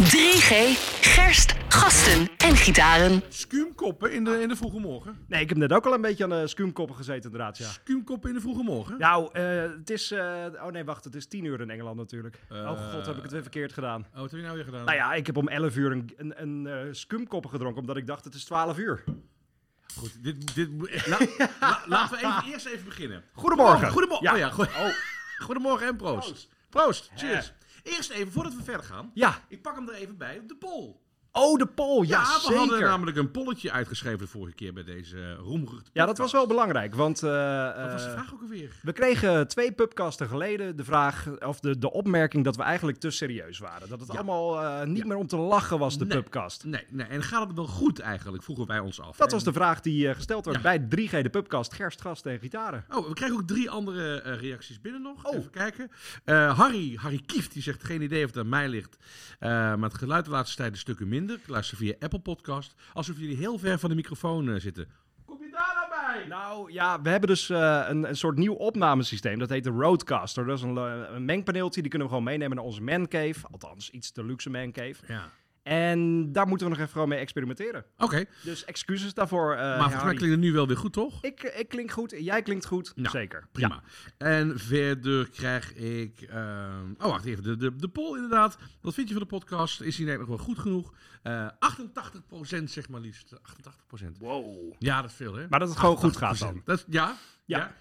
3G, gerst, gasten en gitaren. Skuumkoppen in de, in de vroege morgen. Nee, ik heb net ook al een beetje aan de skuumkoppen gezeten inderdaad, ja. Skuumkoppen in de vroege morgen. Nou, eh, het is... eh, oh nee, wacht, het is tien uur in Engeland natuurlijk. Eh. oh god, heb ik het weer verkeerd gedaan. Oh, wat heb je nou weer gedaan? Nou ja, ik heb om 11 uur een, een, een eh, skuumkoppen gedronken, omdat ik dacht het is 12 uur. Goed, dit, dit, la- la- laten we even, eerst even beginnen. Goedemorgen. Goedemorgen. Ja. Oh ja, goed. Goedemorgen en proost. Proost. Cheers. Eerst even, voordat we verder gaan. Ja. Ik pak hem er even bij. De poll. Oh, de poll, ja, we zeker. hadden namelijk een polletje uitgeschreven de vorige keer bij deze uh, roemrucht. Ja, dat was wel belangrijk, want... eh, Wat was de eh, vraag ook alweer? We kregen twee pubcasten geleden de vraag, of de, de opmerking dat we eigenlijk te serieus waren. Dat het Ja. allemaal eh, niet Ja. meer om te lachen was, de Nee. pubcast. Nee, nee, en gaat het wel goed eigenlijk, vroegen wij ons af. Dat En- was de vraag die eh, gesteld Ja. werd bij 3G, de pubcast, gerst, gasten en gitaren. Oh, we krijgen ook drie andere eh, reacties binnen nog. Oh. Even kijken. Eh, Harry, Harry Kieft, die zegt geen idee of het aan mij ligt. Eh, maar het geluid de laatste tijd een stukken minder. Ik luister via Apple Podcast. Alsof jullie heel ver van de microfoon eh, zitten. Kom je daar nou bij? Nou ja, we hebben dus eh, een, een soort nieuw opnamesysteem. Dat heet de Roadcaster. Dat is een, le- een mengpaneeltje. Die kunnen we gewoon meenemen naar onze mancave. Althans, iets te luxe mancave. Ja. En daar moeten we nog even gewoon mee experimenteren. Oké, Dus excuses daarvoor. eh, maar volgens mij Harry. klinkt het nu wel weer goed, toch? ik, ik klink goed. Jij klinkt goed. Nou, Zeker. Ja. Prima. En verder krijg ik. ehm, oh, wacht even. De, de, de poll inderdaad. Wat vind je van de podcast? Is die eigenlijk nog wel goed genoeg? Eh 88% zeg maar liefst. 88%. Wow. Ja, dat is veel, hè? Maar dat het gewoon goed gaat dan. Dat, is- ja, Ja. ja.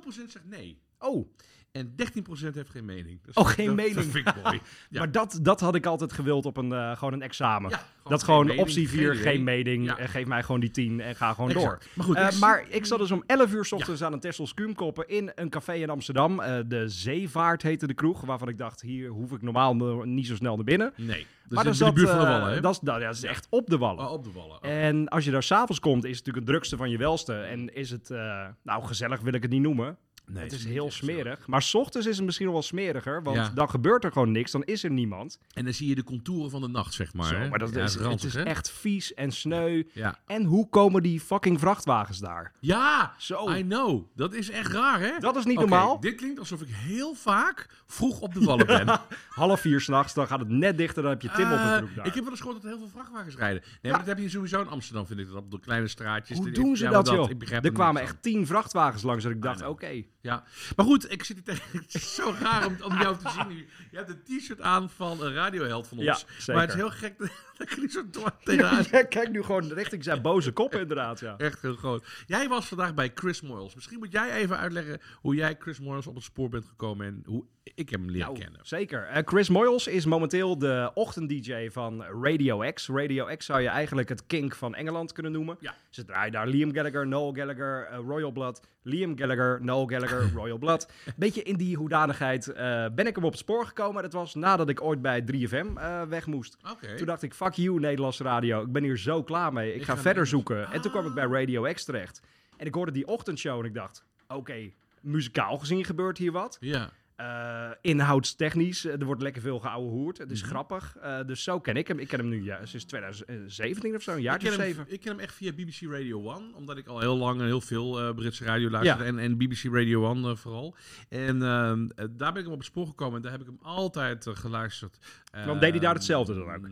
0% zegt nee. Oh, En 13% heeft geen mening. Dus Oh, geen dat- Dat mening. vind ik mooi. Ja. maar dat, dat had ik altijd gewild op een, eh, gewoon een examen. Ja, gewoon dat geen gewoon mening, optie 4, geen, idee. mening. Ja. eh, geef mij gewoon die 10 en ga gewoon door. Exact. Maar goed, Eh, ik- maar ik zat dus om 11 uur s ochtends aan een Tessels Kuumkoppen in een café in Amsterdam. Eh, de Zeevaart heette de kroeg, waarvan ik dacht, hier hoef ik normaal no- niet zo snel naar binnen. Nee. maar maar dat is in de zat, buurt van de eh, wallen, hè? Dat Eh, is, nou, ja, dat is echt op de wallen. Oh, op de wallen. Oh. En als je daar s'avonds komt, is het natuurlijk het drukste van je welste. En is het, eh, nou gezellig wil ik het niet noemen. Oh, nee, het het is niet heel echt gezellig. smerig. Maar s ochtends is het misschien nog wel smeriger, want Ja. dan gebeurt er gewoon niks. Dan is er niemand. En dan zie je de contouren van de nacht, zeg maar. Zo, hè? maar dat Ja, is, ranzig, het is hè? echt vies en sneu. Ja. En hoe komen die fucking vrachtwagens daar? Ja, Zo. I know. Dat is echt raar, hè? Dat is niet Oké, normaal. Dit klinkt alsof ik heel vaak vroeg op de wallen ben. half vier s'nachts, dan gaat het net dichter, dan heb je Tim op Eh, het broek daar. Ik heb wel eens gehoord dat er heel veel vrachtwagens rijden. Nee, maar dat heb je sowieso in Amsterdam, vind ik. Dat op de kleine straatjes. Hoe Ik- doen ze ja, maar dat, joh? Ik begrijp er niks kwamen van. echt tien vrachtwagens langs en ik dacht, I oké. know. Ja, maar goed, ik zit hier tegen. Het is zo raar om, om jou te zien nu. Je hebt een t-shirt aan van een radioheld van ons. Ja, zeker. Maar het is heel gek dat dat ik er niet zo dwars tegenaan. Jij kijkt nu gewoon richting zijn boze kop inderdaad, ja. Echt heel groot. Jij was vandaag bij Chris Moyles. Misschien moet jij even uitleggen hoe jij Chris Moyles op het spoor bent gekomen en hoe ik hem leer Nou, kennen. Zeker. Eh, Chris Moyles is momenteel de ochtend-dj van Radio X. Radio X zou je eigenlijk het kink van Engeland kunnen noemen. Ja. Ze draaien daar Liam Gallagher, Noel Gallagher, eh, Royal Blood. Liam Gallagher, Noel Gallagher, Royal Blood. Beetje in die hoedanigheid eh, ben ik hem op het spoor gekomen. Dat was nadat ik ooit bij 3FM eh, weg moest. Oké. Toen dacht ik, fuck you Nederlandse radio, ik ben hier zo klaar mee. Ik, Ik ga ga verder naar zoeken. En toen kwam ik bij Radio X terecht. En ik hoorde die ochtendshow en ik dacht, oké, muzikaal gezien gebeurt hier wat. Ja. Eh, inhoudstechnisch, eh, er wordt lekker veel geouwehoerd. Het is grappig. Eh, dus zo ken ik hem. Ik ken hem nu ja, sinds 2017 of zo, een Ik jaartje ken, of hem, zeven. ik ken hem echt via BBC Radio 1, omdat ik al heel lang en heel veel eh, Britse radio luister. Ja. En, en BBC Radio 1 eh, vooral. En ehm, eh, daar ben ik hem op het spoor gekomen en daar heb ik hem altijd eh, geluisterd. Want deed hij daar hetzelfde dan ook? Ehm,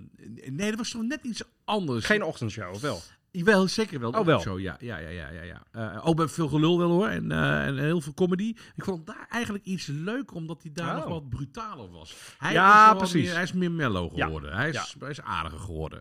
Nee, dat was toch net iets anders. Geen ochtendshow, of wel? Wel, zeker wel. Oh, wel. Zo, ja, ja, ja, ja, ja. ja. Eh, ook bij veel gelul wel hoor. En, eh, en heel veel comedy. Ik vond hem daar eigenlijk iets leuker, omdat hij daar Oh. nog wat brutaler was. Hij Ja, is wel precies. Meer, hij is meer mellow Ja, geworden. Hij, is, hij is aardiger geworden.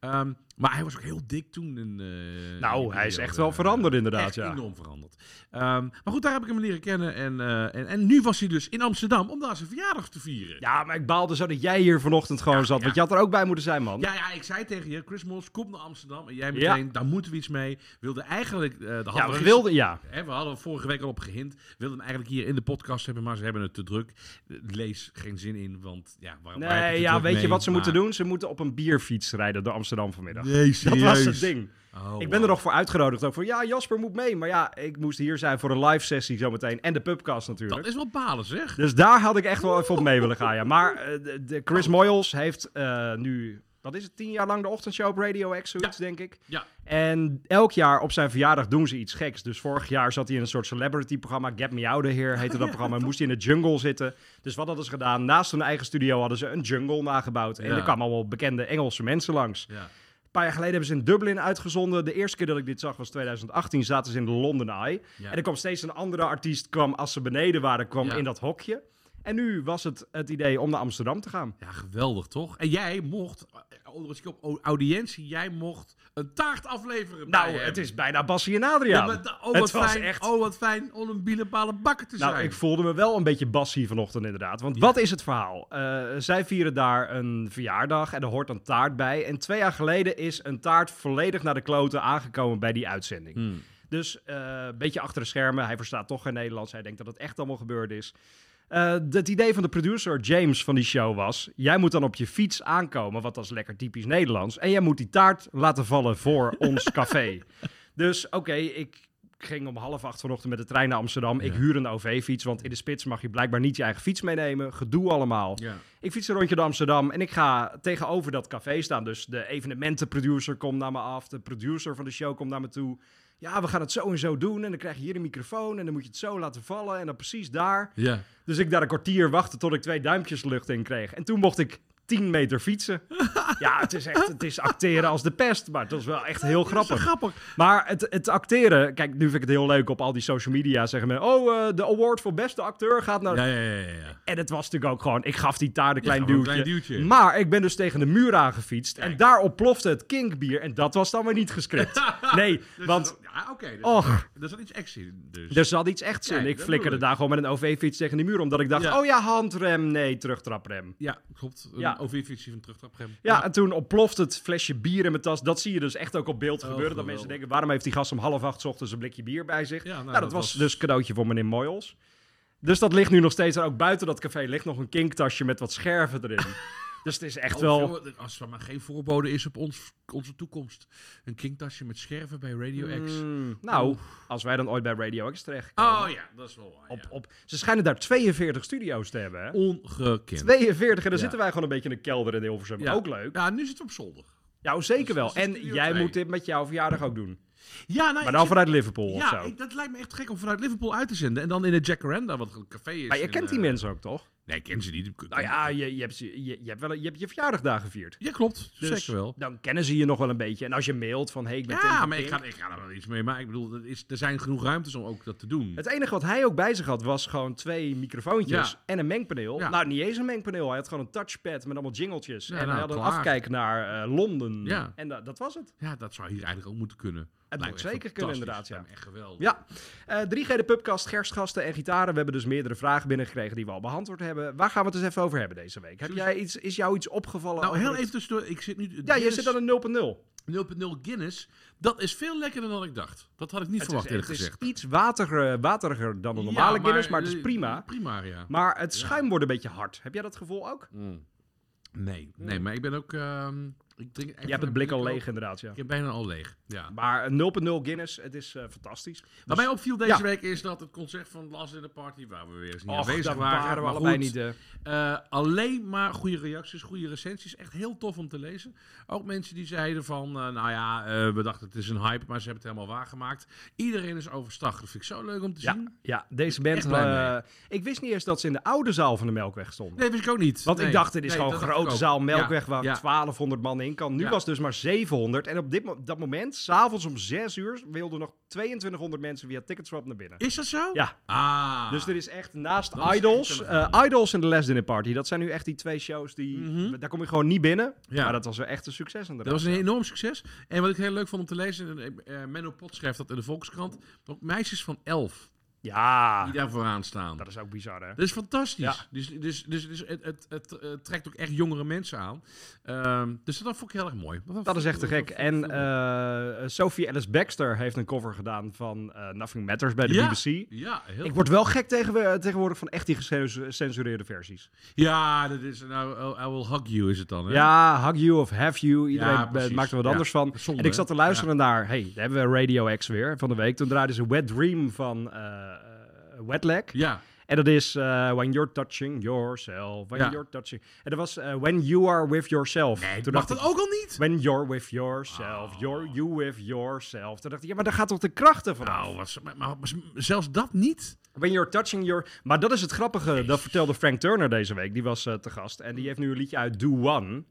Ehm, maar hij was ook heel dik toen. In, eh, in die nou, hij is periode. echt wel veranderd inderdaad, Echt ja. enorm veranderd. Ehm, maar goed, daar heb ik hem leren kennen. En, eh, en, en nu was hij dus in Amsterdam om daar zijn verjaardag te vieren. Ja, maar ik baalde zo dat jij hier vanochtend gewoon zat. Want je had er ook bij moeten zijn, man. Ja, ja, ik zei tegen je, Chris Moss, kom naar Amsterdam. En jij Ja. meteen, daar moeten we iets mee. Wilde eigenlijk... eh, daar hadden Ja, we gisteren- wilden, ja. Hè, we hadden vorige week al op gehind. We wilden hem eigenlijk hier in de podcast hebben, maar ze hebben het te druk. Eh, Lees geen zin in, want ja, waarom waar heb Nee, het ja, druk weet je mee? wat ze Maar- moeten doen? Ze moeten op een bierfiets rijden door Amsterdam vanmiddag. Nee, Dat was het serieus? ding. Oh, ik ben er nog voor uitgenodigd. Ook voor, ja, Jasper moet mee. Maar ja, ik moest hier zijn voor een live sessie zometeen. En de pubcast natuurlijk. Dat is wel balen, zeg. Dus daar had ik echt wel even op mee willen gaan. Ja. Maar eh, de, de Chris Moyles heeft eh, nu wat is het, tien jaar lang de ochtendshow op Radio X, zoiets denk ik. Ja. En elk jaar op zijn verjaardag doen ze iets geks. Dus vorig jaar zat hij in een soort celebrity-programma. Get Me Out of Here heette dat programma. En moest hij in de jungle zitten. Dus wat hadden ze gedaan? Naast hun eigen studio hadden ze een jungle nagebouwd. En Ja. er kwamen allemaal bekende Engelse mensen langs. ja. Een paar jaar geleden hebben ze in Dublin uitgezonden. De eerste keer dat ik dit zag was 2018. Zaten ze in de London Eye. Ja. En er kwam steeds een andere artiest. Kwam als ze beneden waren, kwam Ja. in dat hokje. En nu was het het idee om naar Amsterdam te gaan. Ja, geweldig toch? En jij mocht, eh, onder het op au- audiëntie, jij mocht een taart afleveren. Nou, bij hem. het is bijna Bassie en Ja, Adriaan. maar da- oh, het wat was fijn, echt- oh, wat fijn om een bielenpalen bakker te Nou, zijn. ik voelde me wel een beetje bassie vanochtend inderdaad. Want wat is het verhaal? Eh, zij vieren daar een verjaardag en er hoort een taart bij. En twee jaar geleden is een taart volledig naar de kloten aangekomen bij die uitzending. Hmm. Dus eh, een beetje achter de schermen. Hij verstaat toch geen Nederlands. Hij denkt dat het echt allemaal gebeurd is. Eh, het idee van de producer James van die show was... jij moet dan op je fiets aankomen, wat dat is lekker typisch Nederlands... en jij moet die taart laten vallen voor ons café. Dus oké, ik ging om half acht vanochtend met de trein naar Amsterdam. Ik Ja. huur een OV-fiets, want in de spits mag je blijkbaar niet je eigen fiets meenemen. Gedoe allemaal. Ja. Ik fiets een rondje door Amsterdam en ik ga tegenover dat café staan. Dus de evenementenproducer komt naar me af, de producer van de show komt naar me toe. Ja, we gaan het zo en zo doen en dan krijg je hier een microfoon en dan moet je het zo laten vallen en dan precies daar. ja. Dus ik daar een kwartier wachten tot ik twee duimpjes lucht in kreeg. En toen mocht ik 10 meter fietsen. Ja, het is echt, het is acteren als de pest, maar het was wel echt heel Zo grappig. grappig. Maar het, het acteren, kijk, nu vind ik het heel leuk op al die social media zeggen men, oh, eh, de award voor beste acteur gaat naar Ja, ja, ja, ja, ja. en het was natuurlijk ook gewoon, ik gaf die taart een klein, gewoon een duwtje, klein duwtje. Maar ik ben dus tegen de muur aangefietst. En daar ontplofte het kinkbier. En dat was dan weer niet gescript. nee, Dus want... dat- ja, oké. dus- Och, Er zat iets actie in, dus. er zat iets echt in. Ja, dat ik flikkerde bedoel ik. daar gewoon met een OV-fiets tegen de muur. Omdat ik dacht, Ja. oh ja, handrem. Nee, terugtraprem. ja, klopt. Een Ja. ja. OV-fictie van terugtraprem. Ja, en toen ontploft het flesje bier in mijn tas. Dat zie je dus echt ook op beeld gebeuren. Dat Oh, geweldig. mensen denken, waarom heeft die gast om half acht 's ochtends een blikje bier bij zich? Ja, nou, nou, dat, dat was was- dus cadeautje voor meneer Moyles. Dus dat ligt nu nog steeds. En ook buiten dat café ligt nog een kinktasje met wat scherven erin. dus het is echt Oh, wel... jongen, als er maar geen voorbode is op ons, onze toekomst. Een kinktasje met scherven bij Radio X. Mm, nou, als wij dan ooit bij Radio X terecht Oh ja, dat is wel waar, op, ja. op, ze schijnen daar 42 studio's te hebben. Hè? Ongekend. 42 en dan Ja. zitten wij gewoon een beetje in een kelder in Hilversum. Ja. Ook leuk. Ja, nu zitten we op zolder. Ja, zeker Dus wel. dat is En studio jij twee. moet dit met jouw verjaardag ook doen. Ja, nou, Maar ik dan zit- vanuit Liverpool of Ja, zo. ik- dat lijkt me echt gek om vanuit Liverpool uit te zenden. En dan in het Jacaranda, wat een café is. Maar je in, kent die eh, mensen ook toch? Nee, ik ken ze niet. Nou ja, je, je, hebt, ze- je, je hebt wel, een- je hebt je verjaardag daar gevierd. Ja, klopt. Dus Zeker wel. dan kennen ze je nog wel een beetje. En als je mailt van, hey, ik ben Tim Ja, van maar ik Pink. ga, ik ga er wel iets mee. Maar ik bedoel, dat is, er zijn genoeg ruimtes om ook dat te doen. Het enige wat hij ook bij zich had, was gewoon twee microfoontjes Ja. en een mengpaneel. Ja. Nou, niet eens een mengpaneel. Hij had gewoon een touchpad met allemaal jingeltjes. Ja, en hij nou, had een klaar. afkijk naar eh, Londen. Ja. En da- dat was het. Ja, dat zou hier eigenlijk ook moeten kunnen. Het Lijkt moet me echt zeker kunnen, fantastisch. inderdaad, ja. Lijkt me Echt geweldig. Ja. Eh 3G de Pubcast, gerstgasten en gitaren. We hebben dus meerdere vragen binnengekregen die we al beantwoord hebben. Waar gaan we het eens even over hebben deze week? Heb Zullen jij iets, is jou iets opgevallen? Nou, over heel het- even tussendoor. Ik zit nu... Oh, Ja, je Guinness, zit aan een 0.0. 0.0 Guinness. Dat is veel lekkerder dan ik dacht. Dat had ik niet Het verwacht, is, eerlijk het is gezegd. iets wateriger, wateriger dan een Ja, normale Guinness, maar het is eh, prima. Prima, ja. Maar het schuim wordt een beetje hard. Heb jij dat gevoel ook? Mm. Nee, nee, maar ik ben ook... ehm, ik drink echt Je hebt het een blik al ook. leeg inderdaad, ja. Ik heb bijna al leeg, ja. Maar een 0.0 Guinness, het is eh, fantastisch. Wat mij opviel deze Ja. week is dat het concert van Last in the Party, waar we weer eens niet Och, aanwezig daar waren, waren we maar allebei goed, niet. eh, eh, alleen maar goede reacties, goede recensies. Echt heel tof om te lezen. Ook mensen die zeiden van, eh, nou ja, eh, we dachten het is een hype, maar ze hebben het helemaal waargemaakt. Iedereen is overstag. Dat vind ik zo leuk om te ja, zien. ja, deze band. Echt blij eh, ik wist niet eens dat ze in de oude zaal van de Melkweg stonden. Nee, wist ik ook niet. Want Nee. ik dacht, dit is Nee, gewoon dat een dacht ik grote ook. zaal Ja, Melkweg waar ja. 1200 man in kan. Nu Ja. was het dus maar 700. En op dit mo- dat moment, s'avonds om 6 uur, wilden nog 2200 mensen via Ticketswap naar binnen. Is dat zo? Ja, Ah. dus er is echt naast Dat is Idols, echt een eh, Idols en The Last Dinner Party. Dat zijn nu echt die twee shows die, daar kom je gewoon niet binnen. Mhm. Ja. Maar dat was wel echt een succes inderdaad. Dat was een enorm succes. En wat ik heel leuk vond om te lezen, en, eh, eh, Menno Pot schrijft dat in de Volkskrant, ook meisjes van elf Ja, die daar vooraan staan. Ah. dat is ook bizar hè. Dat is fantastisch. Ja. Dus, dus, dus, dus het, het, het, eh, trekt ook echt jongere mensen aan. Ehm, dus dat vond ik heel erg mooi. Dat is echt te gek. En vond ik eh, Sophie Ellis Baxter heeft een cover gedaan van eh, Nothing Matters bij de Ja. BBC. ja, heel eh, Ik goed. word wel gek tegen, eh, tegenwoordig van echt die gecensureerde versies. ja, dat is. Nou, I, I will hug you is het dan. Hè? Ja, Hug You of Have You. Iedereen Ja, eh, precies. maakt er wat Ja, anders van. zonde, en ik zat te hè? luisteren naar... hey, daar hebben we Radio X weer van de week. Toen draaiden ze Wet Dream van eh eh, Wet Leg. Ja. En dat is eh, When You're Touching Yourself. When Ja. You're Touching. En dat was eh, When You Are With Yourself. Nee, Toen mag dacht dat ik, ook al niet? When You're With Yourself. Oh. You're You With Yourself. Toen dacht ik, ja, maar daar gaat toch de krachten van Nou, was, maar, maar- maar zelfs dat niet. When you're touching your... Maar dat is het grappige, dat vertelde Frank Turner deze week. Die was eh, te gast en die heeft nu een liedje uit Do One.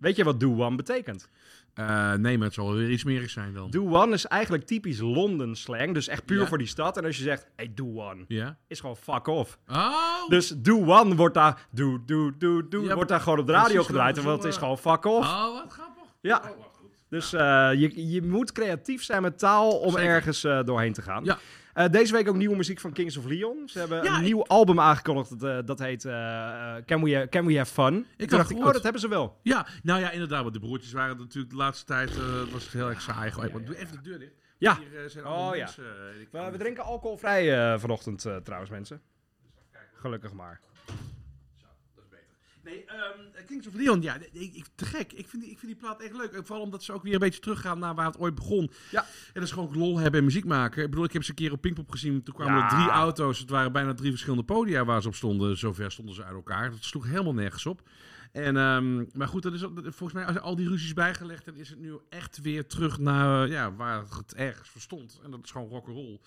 Weet je wat Do One betekent? Eh, nee, maar het zal wel weer iets meer zijn dan. Do One is eigenlijk typisch London slang, dus echt puur Ja. voor die stad. En als je zegt, hey, Do One, Ja? is gewoon fuck off. Oh! Dus Do One wordt daar, do, do, do, do, Ja, wordt daar gewoon op de precies, radio dat gedraaid. is Want het wel, is eh, gewoon fuck off. Oh, wat grappig. Ja. Oh, wat goed. Dus eh, je, je moet creatief zijn met taal om Zeker. ergens eh, doorheen te gaan. Ja. Eh, deze week ook nieuwe muziek van Kings of Leon. Ze hebben Ja, een ik- nieuw album aangekondigd. Dat, eh, dat heet eh, eh, Can, we, Can We Have Fun. Toen had dacht ik, gehoord. oh, dat hebben ze wel. Ja, nou ja, inderdaad. Want de broertjes waren natuurlijk de laatste tijd. eh, was het heel erg saai. Gewoon, Doe even de deur dicht. Ja. Hier eh, zijn Oh, allemaal ja. mensen. eh, ik- We, we drinken alcoholvrij eh, vanochtend eh, trouwens, mensen. Gelukkig maar. Dat is beter. Nee, ehm, Kings of Leon, ja, ik, ik- te gek. Ik vind, die, ik vind die plaat echt leuk. En Vooral omdat ze ook weer een beetje teruggaan naar waar het ooit begon. Ja. En dat is gewoon lol hebben en muziek maken. Ik bedoel, ik heb ze een keer op Pinkpop gezien. Toen kwamen Ja. er drie auto's. Het waren bijna drie verschillende podia waar ze op stonden. Zover stonden ze uit elkaar. Dat sloeg helemaal nergens op. En, ehm, maar goed, dat is, al- volgens mij zijn al die ruzies bijgelegd. En is het nu echt weer terug naar eh, ja, waar het ergens voor stond. En dat is gewoon rock'n'roll.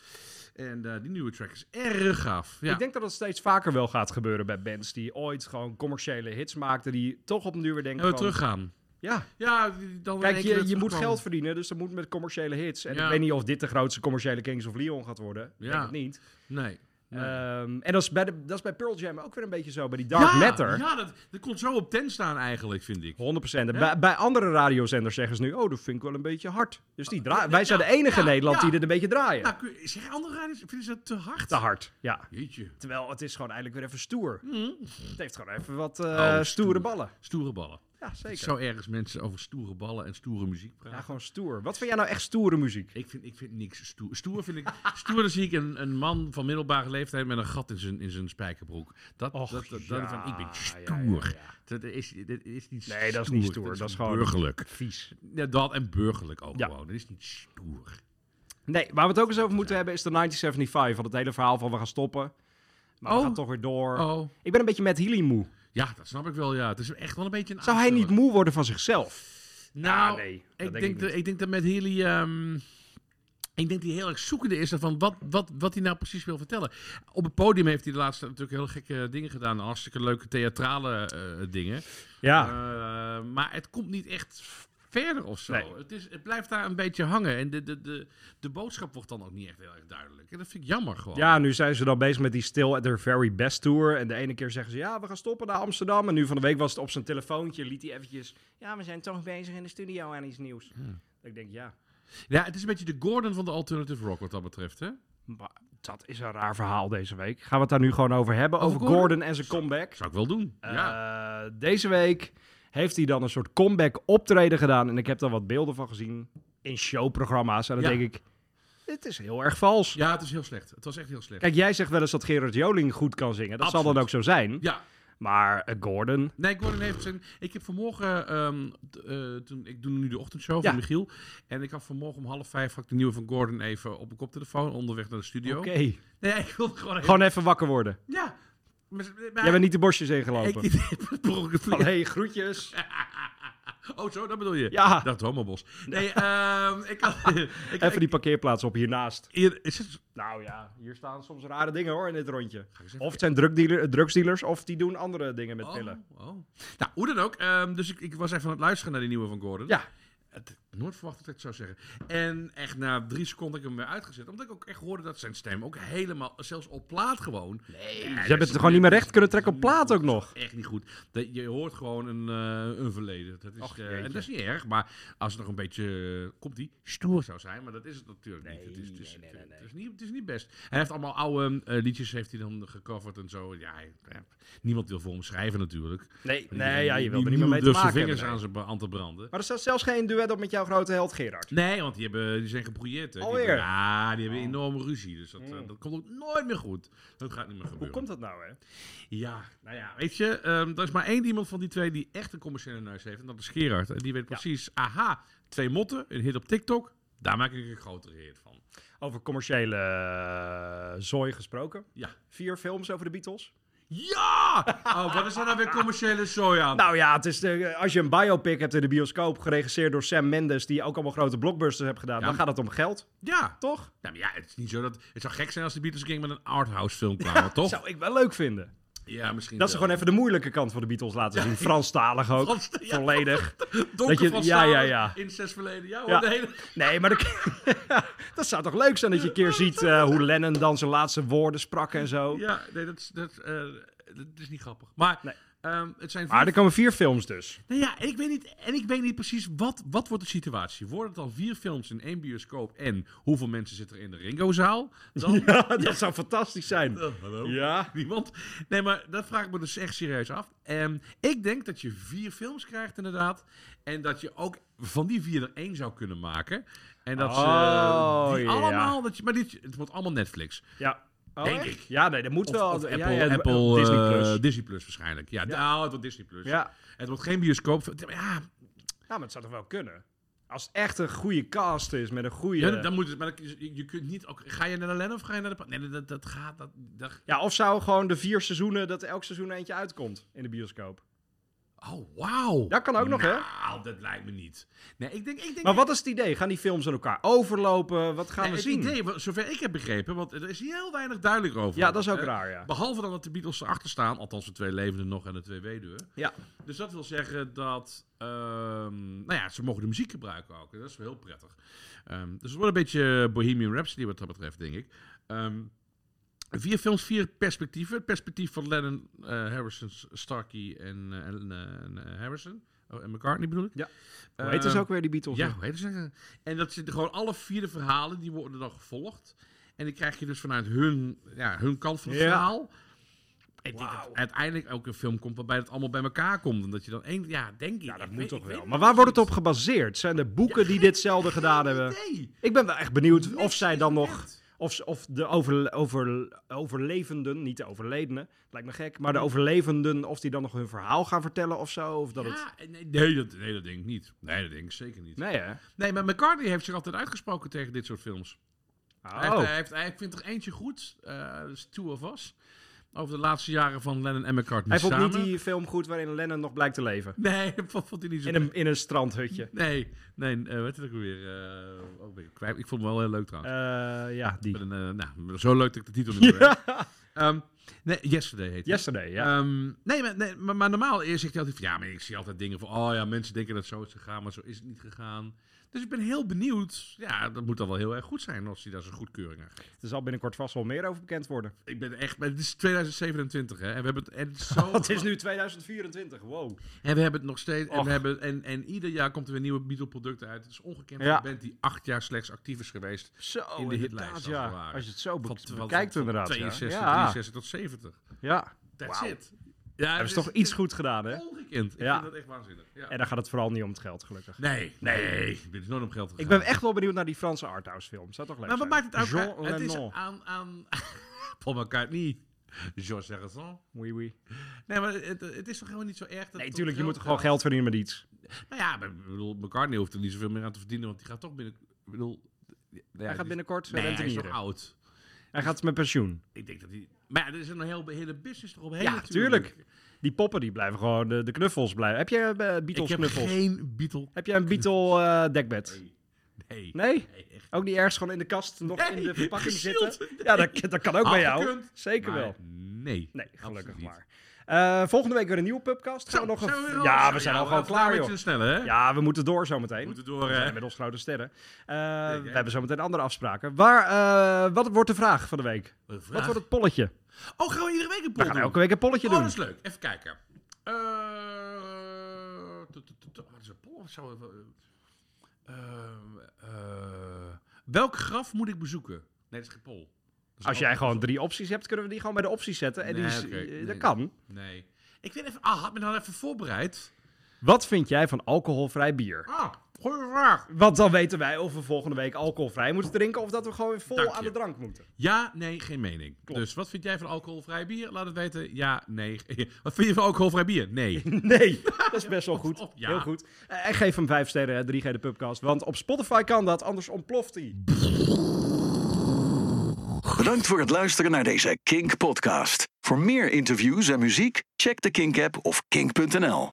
En eh, die nieuwe track is erg gaaf. Ja. Ik denk dat dat steeds vaker wel gaat gebeuren bij bands die ooit gewoon commerciële hits maakten. Die toch op een duur weer denken En we van, teruggaan. Ja, Ja, die- dan in kijk, één keer je, je moet terugkomen. geld verdienen, dus dat moet met commerciële hits. En Ja. ik weet niet of dit de grootste commerciële Kings of Leon gaat worden. Ik Ja. denk het niet. Nee. nee. Ehm, en dat is, bij de, dat is bij Pearl Jam ook weer een beetje zo. Bij die Dark ja, Matter. Ja, dat, dat kon zo op ten staan eigenlijk, vind ik. 100%. En bij, bij andere radiozenders zeggen ze nu... oh, dat vind ik wel een beetje hard. Dus die draaien. Wij zijn de enige in ja, Nederland ja. die dit een beetje draaien. Nou, kun je- zeg andere radios, vinden ze dat te hard? Te hard, ja. Mm. Jeetje. Terwijl het is gewoon eindelijk weer even stoer. Het heeft gewoon even wat eh, Oh, stoer. stoere ballen. Stoere ballen. Ja, zeker. Ik zou ergens mensen over stoere ballen en stoere muziek praten. Ja, gewoon stoer. Wat vind jij nou echt stoere muziek? Ik vind, ik vind niks stoer. Stoer vind ik... stoer dan zie ik een, een man van middelbare leeftijd met een gat in zijn, in zijn spijkerbroek. Dat, Och, dat, dat, dat ja, van, ik ben ja, ja, stoer. ja. Dat is, dat is niet Nee, dat is niet stoer. Dat is gewoon- burgerlijk. Vies. Ja, dat en burgerlijk ook Ja. gewoon. Dat is niet stoer. Nee, waar we het ook eens over moeten hebben is de 1975. Van het hele verhaal van we gaan stoppen. Maar we Oh. gaan toch weer door. Oh. Ik ben een beetje met Healy moe. Ja, dat snap ik wel, ja. Het is echt wel een beetje een Zou hij niet aansteller. moe worden van zichzelf? Nou, Ja, Ah, nee, dat ik, denk denk Ah, ik dat, niet. ik denk dat met Healy... ehm, ik denk dat hij heel erg zoekende is van wat, wat, wat hij nou precies wil vertellen. Op het podium heeft hij de laatste tijd natuurlijk heel gekke dingen gedaan. Hartstikke leuke theatrale eh, dingen. Ja. Eh, maar het komt niet echt verder of zo. Nee. Het, is, het blijft daar een beetje hangen. En de, de, de, de boodschap wordt dan ook niet echt heel erg duidelijk. En dat vind ik jammer gewoon. Ja, nu zijn ze dan bezig met die Still at their very best tour. En de ene keer zeggen ze, ja, we gaan stoppen naar Amsterdam. En nu van de week was het op zijn telefoontje, liet hij eventjes... Ja, we zijn toch bezig in de studio aan iets nieuws. Hmm. Ik denk, ja, ja, het is een beetje de Gordon van de alternative rock wat dat betreft, hè? maar dat is een raar verhaal deze week. Gaan we het daar nu gewoon over hebben? Over, Over Gordon? Gordon en zijn comeback. Zou ik wel doen. ja. Eh, deze week heeft hij dan een soort comeback optreden gedaan. En ik heb daar wat beelden van gezien in showprogramma's. En dan Ja. denk ik, dit is heel erg vals. ja, het is heel slecht. Het was echt heel slecht. Kijk, jij zegt wel eens dat Gerard Joling goed kan zingen. Dat zal Absoluut. dan ook zo zijn. Ja. Maar eh, Gordon... Nee, Gordon heeft zijn. Ik heb vanmorgen. ehm, t- eh, toen, ik doe nu de ochtendshow Ja. van Michiel. En ik had vanmorgen om half vijf. Had ik de nieuwe van Gordon even op mijn koptelefoon. Onderweg naar de studio. Oké. Nee, ik wilde gewoon. Even, Gewoon even wakker worden. Ja. Maar, maar- Jij bent niet de bosjes ingelopen. Ik, ik, per ongeluk vlieg- Allee, groetjes. oh, zo, dat bedoel je. Ja. Dat homobos. Nee, ehm, ik had. ik, Even die ik- parkeerplaats op hiernaast. hier, is het, Nou ja, hier staan soms rare dingen hoor in dit rondje. eens even Of het zijn drugdealer, eh, drugsdealers of die doen andere dingen met oh, pillen. oh. Nou, hoe dan ook. ehm, dus ik, ik was even aan het luisteren naar die nieuwe van Gordon. Ja, Het, nooit verwacht dat ik het zou zeggen. En echt na drie seconden heb ik hem weer uitgezet. Omdat ik ook echt hoorde dat zijn stem ook helemaal, zelfs op plaat gewoon. Nee, dus ze hebben het gewoon niet meer recht kunnen trekken op plaat ook nog. Echt niet goed. Dat, je hoort gewoon een, eh, een verleden. Dat is, Och, eh, jeetje. en dat is niet erg, maar als het nog een beetje, eh, komt die, stoer zou zijn. Maar dat is het natuurlijk niet. Het is, het is, nee, nee, nee. Het is niet. Het is niet best. Hij heeft allemaal oude eh, liedjes heeft hij dan gecoverd en zo. Ja, hij- eh, niemand wil voor hem schrijven natuurlijk. Nee, nee ja, Die- je wil er niet meer niemand mee te durft maken zijn vingers hebben, aan nee. zijn ba- aan te branden. Maar er staat zelfs geen duet op met jouw grote held Gerard. Nee, want die, hebben, die zijn gebrouilleerd. hè. Die Alweer? Oh. Mm. hebben- Ja, die hebben enorme ruzie. Dus dat, eh, dat komt ook nooit meer goed. Dat gaat niet meer Hoe gebeuren. komt dat nou hè? Ja, nou ja, weet je, ehm, er is maar één iemand van die twee die echt een commerciële neus heeft. En dat is Gerard. En die weet precies, aha, twee motten, een hit op TikTok. Daar maak ik een grotere hit van. Over commerciële eh, zooi gesproken. Ja. Vier films over de Beatles. Ja! Oh, wat is er nou weer commerciële zooi aan? Nou ja, het is de, als je een biopic hebt in de bioscoop, geregisseerd door Sam Mendes, die ook allemaal grote blockbusters heeft gedaan, Ja. dan gaat het om geld, ja. toch? Nou, maar ja, het is niet zo dat... Het zou gek zijn als de Beatles een keer met een arthouse film kwamen, toch? Zou ik wel leuk vinden. Ja, misschien Dat ze gewoon even de moeilijke kant van de Beatles laten zien. Franstalig ook. Frans- ja. Volledig. Donker dat je- van ja, Sarah, ja, ja. Incestverleden. Ja, hoor, Ja. de hele... Nee, maar dat, dat zou toch leuk zijn dat je een keer ziet eh, hoe Lennon dan zijn laatste woorden sprak en zo. Ja, nee, dat, is- dat, eh, dat is niet grappig. Maar Nee. ehm, het zijn... Maar er komen vier films dus. Nou ja, en ik weet niet, en ik weet niet precies wat, wat wordt de situatie. Worden het al vier films in één bioscoop en hoeveel mensen zitten er in de Ringo-zaal? Dan... Ja, dat zou fantastisch zijn. Eh, hallo? Ja. Niemand? Nee, maar dat vraag ik me dus echt serieus af. Ehm, ik denk dat je vier films krijgt inderdaad. En dat je ook van die vier er één zou kunnen maken. En dat ze Oh, die ja. allemaal... Dat je, maar dit, het wordt allemaal Netflix. Ja. Oh, Denk echt? ik. Ja, nee, dat moet Of, wel. of Ja, Apple, ja, ja, Apple, Disney Plus. eh, Disney Plus waarschijnlijk. Ja, nou, het wordt Disney Plus. ja. Het wordt geen bioscoop. Ja, ja, Nou, maar het zou toch wel kunnen? Als het echt een goede cast is met een goede... ja, Ja, dan moet het. Maar dan- je, je kunt niet. Ook, ga je naar de Lennon of ga je naar de. pa- Nee, dat, dat gaat. Dat, dat- of zou gewoon de vier seizoenen, dat elk seizoen eentje uitkomt in de bioscoop. oh, wauw. Dat kan ook nog, hè? Nou, dat lijkt me niet. Nee, ik denk. Ik denk Maar wat is het idee? Gaan die films aan elkaar overlopen? Wat gaan Nee, we het zien? idee, wat- zover ik heb begrepen, want er is heel weinig duidelijk over. Ja, dat is ook Eh, raar, ja. Behalve dan dat de Beatles erachter staan, althans de twee levenden nog en de twee weduwen. Ja. Dus dat wil zeggen dat, ehm, nou ja, ze mogen de muziek gebruiken ook. En dat is wel heel prettig. Ehm, dus het wordt een beetje Bohemian Rhapsody wat dat betreft, denk ik. Ehm, vier films, vier perspectieven. Het perspectief van Lennon, eh, Harrison, Starkey en, eh, en, eh, en Harrison. Oh, en McCartney bedoel ik. Ja. Hoe heet het Ehm, ook weer, die Beatles? ja, hoe heet het? nou? En dat zitten gewoon alle vier de verhalen, die worden dan gevolgd. En die krijg je dus vanuit hun, ja, hun kant van het Ja. verhaal. Ik denk Wauw. dat uiteindelijk ook een film komt waarbij het allemaal bij elkaar komt. En dat je dan één... Ja, denk ik. Ja, dat ik moet weet- toch ik weet wel. het Maar niet waar wordt het op precies. gebaseerd? Zijn er boeken die ditzelfde gedaan hebben? Nee. Ik ben wel echt benieuwd of Niks zij is dan nog... bekend. Of, ze- of de over, over, overlevenden, niet de overledenen, lijkt me gek, maar de overlevenden, of die dan nog hun verhaal gaan vertellen of zo. Of dat het... Ja, en nee, nee, dat, nee, dat denk ik niet. Nee, dat denk ik zeker niet. Nee, Nee, hè? maar McCartney heeft zich altijd uitgesproken tegen dit soort films. Hij, heeft, hij, Oh. heeft, hij vindt er eentje goed. eh dat is Two of Us. Over de laatste jaren van Lennon en McCartney Hij vond samen. niet die film goed waarin Lennon nog blijkt te leven. Nee, vond vond hij niet zo In een, in een strandhutje. Nee, nee, eh, wat is het ook weer? eh oh, ben ik, kwijt. ik vond hem wel heel leuk trouwens. Eh, ja, die. Met een, eh, nou, zo leuk dat ik de titel niet meer weet. Ehm, nee, Yesterday heet hij. Yesterday, ja. Ehm, nee, maar, nee maar, maar normaal eerst zeg je altijd van... Ja, maar ik zie altijd dingen van... Oh ja, mensen denken dat zo is gegaan, maar zo is het niet gegaan. Dus ik ben heel benieuwd. Ja, dat moet dan wel heel erg goed zijn als hij daar zijn goedkeuring aan geeft. Er zal binnenkort vast wel meer over bekend worden. Ik ben echt... maar Het is 2027, hè? En we hebben het, en het is zo... Het is nu 2024, wow. En we hebben het nog steeds. En, Och. we hebben, en, en ieder jaar komt er weer nieuwe Beatle-producten uit. Het is ongekend Ja. voor een band die acht jaar slechts actief is geweest. Zo, In de hitlijst, als inderdaad, het ja. ware. Als je het zo Van, be- van, bekijkt van inderdaad, ja. 62, ja. 63 tot 70. Ja, That's Wauw. it. Ja, hebben ze toch iets goed gedaan, hè? ongekend. Ik Ja. vind dat echt waanzinnig. Ja. En dan gaat het vooral niet om het geld, gelukkig. Nee, nee. Dit is nooit om geld Ik gegaan. ben echt wel benieuwd naar die Franse arthouse film. Zou toch leuk Maar wat zijn? maakt het uit? Jean het is Lennon. aan... aan Paul McCartney. Georges Harrison. Oui, oui. Nee, maar het, het is toch helemaal niet zo erg... Dat Nee, het tuurlijk, je om moet er gewoon gaat? geld verdienen met iets. Nou ja, maar ik bedoel, McCartney hoeft er niet zoveel meer aan te verdienen, want die gaat toch binnen. Ik bedoel, ja, Hij gaat die- binnenkort eh, Nee, hij is rentenieren. nog oud. Hij gaat met pensioen. Ik denk dat hij. Maar ja, er is een hele, hele business erop heen. Ja, natuurlijk. tuurlijk. Die poppen die blijven gewoon, de, de knuffels blijven. Heb je eh, Beatles Ik heb knuffels? geen Beatle. Heb je een Beatle eh, dekbed? Nee. Nee? Nee, echt. Ook niet ergens gewoon in de kast, nog Nee, in de verpakking gezield. zitten? Ja, dat, dat kan ook bij jou. Afgekund, Zeker Maar wel. Nee. Nee, gelukkig absoluut niet. maar. Eh, volgende week weer een nieuwe pubcast. Gaan Zo, we nog zijn we weer een... al- Ja, Zo, we zijn al gewoon we gaan klaar, een joh. beetje sneller, hè? Ja, we moeten door zometeen. We moeten door, We hè? zijn inmiddels grote sterren. Eh, Zeker. we hebben zometeen andere afspraken. Waar, eh, wat wordt de vraag van de week? Wat Wat vraag? wordt het polletje? Oh, gaan we iedere week een We poll gaan doen? elke week een polletje Oh, doen. dat is leuk. Even kijken. Eh, tu- tu- tu- tu- Wat is een poll? Wat zou het wel- Ehm, eh, Welk graf moet ik bezoeken? Nee, dat is geen poll. Dat is Als een jij andere- gewoon drie opties hebt, kunnen we die gewoon bij de opties zetten. En die Nee, is- oké, eh, nee, dat nee. kan. Nee. Ik weet even... Ah, had me dan even voorbereid. Wat vind jij van alcoholvrij bier? Ah, Goeie vraag. Want dan weten wij of we volgende week alcoholvrij moeten drinken of dat we gewoon weer vol Dank aan je. de drank moeten. Ja, nee, geen mening. Klopt. Dus wat vind jij van alcoholvrij bier? Laat het weten. Ja, nee. Wat vind je van alcoholvrij bier? Nee. Nee, dat is best wel goed. Ja. Heel goed. Eh, en geef hem 5 sterren, hè, 3G de Pubcast. Want op Spotify kan dat, anders ontploft hij. Bedankt voor het luisteren naar deze Kink podcast. Voor meer interviews en muziek, check de Kink app of kink.nl.